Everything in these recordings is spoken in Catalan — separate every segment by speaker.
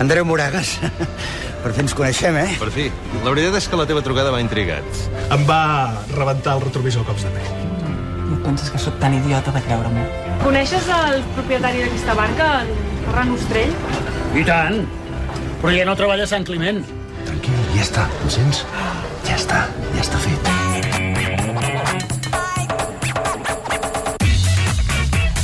Speaker 1: Andreu Moragas. Per fi ens coneixem, eh?
Speaker 2: Per fi. La veritat és que la teva trucada m'ha intrigat.
Speaker 3: Em va rebentar el retrovisor a cops de peu.
Speaker 4: No et penses que sóc tan idiota de creure-m'ho?
Speaker 5: Coneixes el propietari d'aquesta barca, el Ferran Ostrell?
Speaker 6: I tant. Però ja no treballa a Sant Climent.
Speaker 3: Tranquil, ja està, em sents? Ja està, ja està fet.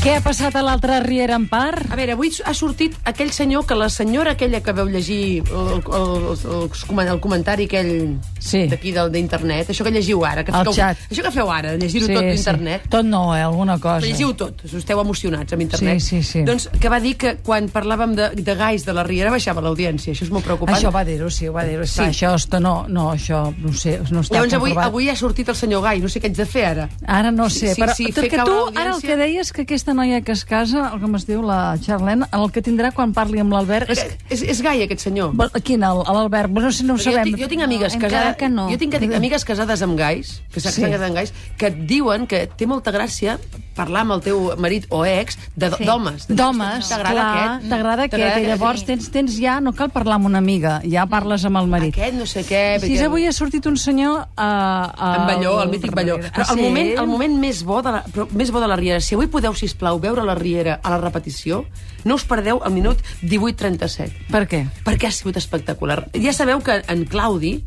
Speaker 7: Què ha passat a l'altra Riera en part?
Speaker 8: A veure, avui ha sortit aquell senyor que la senyora aquella que veu llegir el, el, el, el comentari aquell
Speaker 7: Sí.
Speaker 8: d'aquí del- d'internet, això que llegiu ara. Que
Speaker 7: Al xat.
Speaker 8: Això que feu ara, llegir-ho tot d'internet.
Speaker 7: Sí. Tot no, eh? Alguna cosa.
Speaker 8: Llegiu tot, us esteu emocionats amb internet.
Speaker 7: Sí, sí, sí.
Speaker 8: Doncs que va dir que quan parlàvem de, de gais de la Riera baixava l'audiència, això és molt preocupant.
Speaker 7: Això va dir-ho, sí, ho va dir-ho. Sí. Això, esto no, no, això no ho sé, no està
Speaker 8: Llavors avui,
Speaker 7: comprovat. Ah,
Speaker 8: avui ha sortit el senyor Gai, no sé què haig de fer ara.
Speaker 7: Ara no sé,
Speaker 8: Sí, sí,
Speaker 7: però
Speaker 8: sí,
Speaker 7: tot
Speaker 8: fer
Speaker 7: que
Speaker 8: caure
Speaker 7: tu,
Speaker 8: l'audiència.
Speaker 7: ara el que deies que aquesta noia que es casa, el que es diu la Charlene, el que tindrà quan parli amb l'Albert...
Speaker 8: És,
Speaker 7: És...
Speaker 8: Eh, és, és Gai aquest senyor.
Speaker 7: Bo- Quin, el- l'Albert? No sé, no ho
Speaker 8: Perquè
Speaker 7: sabem.
Speaker 8: Jo, tinc- jo tinc amigues
Speaker 9: No, encara
Speaker 8: casades...
Speaker 9: que no.
Speaker 8: Jo tinc que- amigues casades amb gais, que s'han
Speaker 7: Sí.
Speaker 8: sí. casat amb gais, que et diuen que té molta gràcia parlar amb el teu marit o ex de- d'homes. De,
Speaker 7: D'homes,
Speaker 8: doncs. T'agrada
Speaker 7: clar,
Speaker 8: aquest?
Speaker 7: t'agrada aquest, i llavors tens, tens ja, no cal parlar amb una amiga, ja parles amb el marit.
Speaker 8: Aquest no sé què...
Speaker 7: Si és avui ha sortit un senyor... Uh, uh,
Speaker 8: Eh, En Balló, el mític Balló. Però el moment, el moment més, bo de la, però més bo de la Riera, si avui podeu, si plau veure la Riera a la repetició, no us perdeu el minut 18.37,
Speaker 7: Per què?
Speaker 8: perquè ha sigut espectacular. Ja sabeu que en Claudi,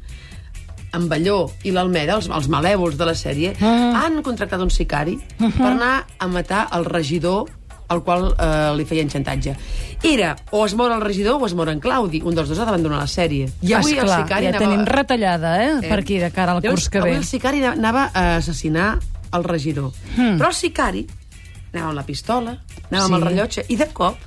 Speaker 8: en Balló i l'Almeda, els, els malèvols de la sèrie,
Speaker 7: Ah.
Speaker 8: han contractat un sicari per anar a matar el regidor al qual eh, li feien xantatge. Era o es mor el regidor o es mor en Claudi. Un dels dos ha d'abandonar la sèrie. I avui
Speaker 7: Esclar,
Speaker 8: el sicari
Speaker 7: ja
Speaker 8: anava...
Speaker 7: tenim retallada, eh, per aquí, de cara al
Speaker 8: Llavors,
Speaker 7: curs que ve.
Speaker 8: Avui el sicari anava a assassinar el regidor. Hmm. Però el sicari anava amb la pistola, anava sí. amb
Speaker 7: Sí.
Speaker 8: el rellotge, i de cop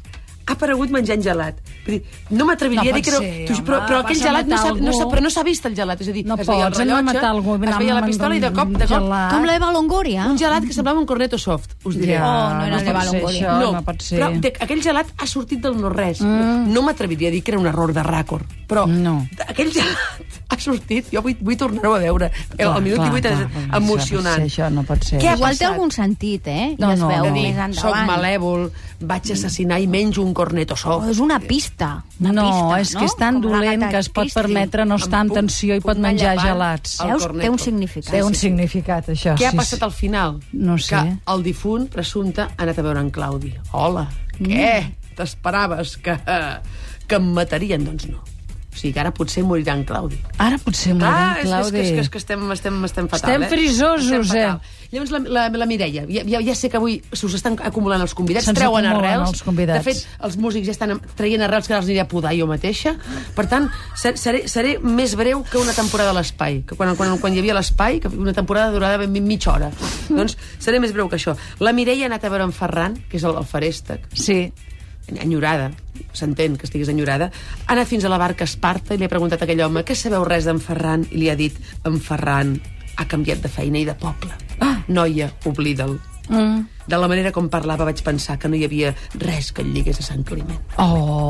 Speaker 8: ha aparegut menjant gelat. Vull dir, no m'atreviria
Speaker 7: No
Speaker 8: a dir que no...
Speaker 7: pot ser,
Speaker 8: tu-
Speaker 7: home,
Speaker 8: però, però aquell
Speaker 7: vas a
Speaker 8: gelat no
Speaker 7: matar
Speaker 8: s'ha no s'ha-
Speaker 7: algú.
Speaker 8: però no s'ha vist el gelat. És a dir,
Speaker 7: No
Speaker 8: es veia el
Speaker 7: pots, anem a
Speaker 8: rellotge,
Speaker 7: matar algú,
Speaker 8: es veia
Speaker 7: anant
Speaker 8: la pistola i de cop, de cop,
Speaker 7: gelat.
Speaker 9: Com l'Eva Longoria.
Speaker 8: un gelat que semblava un corneto soft, us diré.
Speaker 9: Oh, no era
Speaker 7: no
Speaker 9: el de
Speaker 7: pot ser
Speaker 9: Valongoli.
Speaker 7: això, no, no pot ser.
Speaker 8: però de, aquell gelat ha sortit del no-res. Mm. No m'atreviria a dir que era un error de ràcord, però
Speaker 7: Ah. No.
Speaker 8: d- aquell gelat ha sortit, jo vull, vull tornar-ho a veure. eh, El, el minut
Speaker 7: clar,
Speaker 8: 18
Speaker 7: clar, clar,
Speaker 8: és
Speaker 7: això
Speaker 8: emocionant.
Speaker 7: pot ser, això no pot ser.
Speaker 8: Què ha
Speaker 9: Igual té
Speaker 8: passat?
Speaker 9: algun sentit, eh? I
Speaker 7: No,
Speaker 9: es
Speaker 7: no,
Speaker 9: veu
Speaker 7: no.
Speaker 8: Dir,
Speaker 9: més endavant.
Speaker 8: soc malèvol, vaig assassinar i menjo un corneto
Speaker 9: Oh,
Speaker 8: soft.
Speaker 9: és una pista. Una
Speaker 7: No,
Speaker 9: pista,
Speaker 7: és
Speaker 9: no?
Speaker 7: que és tan
Speaker 9: Com
Speaker 7: dolent
Speaker 9: l'Agatha
Speaker 7: que es pot
Speaker 9: Christie.
Speaker 7: permetre no estar en
Speaker 8: Em puc-
Speaker 7: tensió i
Speaker 8: puc
Speaker 7: pot menjar
Speaker 8: anar llevant
Speaker 7: gelats.
Speaker 8: al
Speaker 9: Veus?
Speaker 8: corneto.
Speaker 9: Té un significat.
Speaker 7: Té un
Speaker 9: Sí, sí.
Speaker 7: significat, això.
Speaker 8: Què ha
Speaker 7: sí,
Speaker 8: passat
Speaker 7: sí.
Speaker 8: al final?
Speaker 7: No sé.
Speaker 8: Que el difunt presumpte ha anat a veure en Claudi. Hola, mm. què? T'esperaves que, que em matarien? Doncs no. O sigui que ara potser morirà en Claudi.
Speaker 7: Ara potser m'ho
Speaker 8: Ah, és, és,
Speaker 7: Claudi.
Speaker 8: que, és, que, és que estem, estem, estem fatal,
Speaker 7: Estem
Speaker 8: eh?
Speaker 7: frisosos, eh?
Speaker 8: fatal. Llavors, la, la, la Mireia, ja, ja, ja sé que avui se us estan acumulant els convidats,
Speaker 7: Se'ns
Speaker 8: treuen
Speaker 7: acumulen
Speaker 8: arrels.
Speaker 7: els convidats.
Speaker 8: De fet, els músics ja estan am- traient arrels que ara els aniré a podar jo mateixa. Per tant, ser, seré, seré més breu que una temporada a l'espai, que quan, quan, quan hi havia l'espai, que una temporada durada ben mig- mitja hora. doncs seré més breu que això. La Mireia ha anat a veure en Ferran, que és el, el farèstec,
Speaker 7: Sí.
Speaker 8: enyorada, s'entén que estiguis enyorada, ha anat fins a la barca Esparta i li ha preguntat a aquell home què sabeu res d'en Ferran i li ha dit en Ferran ha canviat de feina i de poble. Ah. Noia, oblida'l. Mm. De la manera com parlava vaig pensar que no hi havia res que el lligués a Sant Climent.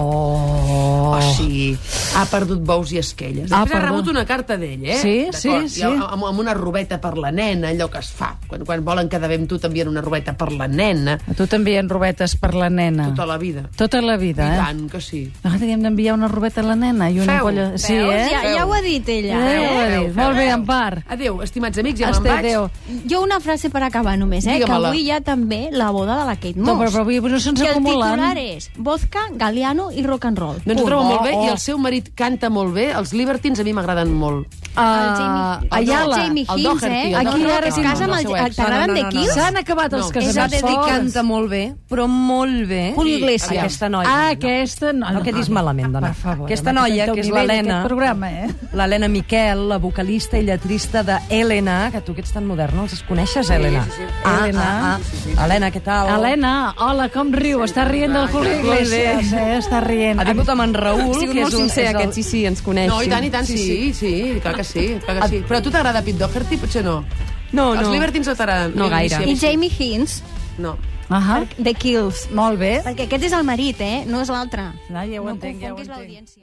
Speaker 7: Oh.
Speaker 8: O sigui, ha perdut bous i esquelles.
Speaker 7: Ah,
Speaker 8: Després ha
Speaker 7: perdó.
Speaker 8: rebut una carta d'ell, eh?
Speaker 7: Sí,
Speaker 8: D'acord.
Speaker 7: sí, sí.
Speaker 8: I Amb, amb una robeta per la nena, allò que es fa. Quan, quan volen quedar bé amb tu, t'envien una robeta per la nena.
Speaker 7: A tu t'envien robetes per la nena.
Speaker 8: Tota la vida.
Speaker 7: Tota la
Speaker 8: I
Speaker 7: vida, eh?
Speaker 8: tant que sí.
Speaker 7: Ara hem d'enviar una robeta a la nena i una
Speaker 8: Feu.
Speaker 7: colla... Sí,
Speaker 9: Veus?
Speaker 7: eh?
Speaker 9: Ja, ja ho ha dit ella.
Speaker 7: Eh,
Speaker 9: Eh?
Speaker 7: ho ha
Speaker 8: Feu,
Speaker 7: dit.
Speaker 8: feu,
Speaker 7: Molt bé,
Speaker 8: feu.
Speaker 7: en part.
Speaker 8: Adéu, estimats amics, ja me'n
Speaker 7: Hasta
Speaker 8: vaig.
Speaker 7: adéu.
Speaker 9: Jo una frase per acabar només, eh? Que
Speaker 8: Digue-me-la.
Speaker 9: avui hi ha també la boda de la Kate Moss.
Speaker 7: No, però, doncs, però avui no se'ns
Speaker 9: que el
Speaker 7: acumulen.
Speaker 9: titular és vodka, galiano i rock and roll.
Speaker 8: Doncs ho
Speaker 7: Oh,
Speaker 8: trobo molt bé,
Speaker 7: oh.
Speaker 8: i el seu marit canta molt bé. Els Libertins a mi m'agraden molt.
Speaker 7: Ah,
Speaker 9: Jamie-
Speaker 7: Ayala.
Speaker 9: Jamie
Speaker 8: el
Speaker 9: Higgs,
Speaker 8: Doherty,
Speaker 9: eh?
Speaker 8: el
Speaker 7: Aquí
Speaker 9: Aquí
Speaker 7: ara
Speaker 9: ara
Speaker 7: sí,
Speaker 9: es casa
Speaker 7: no,
Speaker 9: amb
Speaker 8: no,
Speaker 9: el...
Speaker 8: no,
Speaker 9: el- T'agraden
Speaker 10: no,
Speaker 9: de
Speaker 10: no, no.
Speaker 9: Kills?
Speaker 7: S'han acabat els
Speaker 8: No.
Speaker 10: És a
Speaker 7: casaments
Speaker 10: dir,
Speaker 7: forts.
Speaker 10: canta molt bé, però molt bé.
Speaker 9: Julio Iglesias.
Speaker 10: Aquesta noia.
Speaker 7: Ah, aquesta... No,
Speaker 10: No, que dis malament, dona.
Speaker 7: Per favor.
Speaker 10: Aquesta
Speaker 7: amb
Speaker 10: noia,
Speaker 7: aquest
Speaker 10: que és
Speaker 7: nivell
Speaker 10: l'Helena.
Speaker 7: d'aquest programa, eh?
Speaker 10: L'Helena Miquel, la vocalista i lletrista de Helena, que tu que ets tan moderna, els coneixes, Helena? Sí, sí, sí. Ah,
Speaker 7: Helena.
Speaker 10: Ah, ah. Helena, què tal?
Speaker 7: Helena, hola, com riu? Està rient del Julio Iglesias, eh? Està rient.
Speaker 10: Ha vingut amb en Raül,
Speaker 11: Hem sigut
Speaker 10: que és
Speaker 11: molt
Speaker 10: un...
Speaker 11: sincer,
Speaker 10: és el-
Speaker 11: aquest, sí, sí, ens coneixi.
Speaker 8: No, i tant, i tant, sí, sí, sí, clar que sí, clar que sí. Però a tu t'agrada Pete Doherty? Potser no.
Speaker 11: No, no.
Speaker 8: Els Libertins no t'agraden?
Speaker 11: No
Speaker 8: Sí,
Speaker 11: gaire.
Speaker 8: sí, a mi
Speaker 9: I
Speaker 8: sí.
Speaker 9: Jamie Hines,
Speaker 8: No.
Speaker 10: Ah.
Speaker 7: Ahà,
Speaker 9: de Kills.
Speaker 7: molt bé.
Speaker 9: Perquè aquest és el marit, eh? No és l'altre.
Speaker 7: Ah, ja ho
Speaker 9: No
Speaker 7: entenc, ja ho
Speaker 9: confonguis
Speaker 7: entenc.
Speaker 9: l'audiència.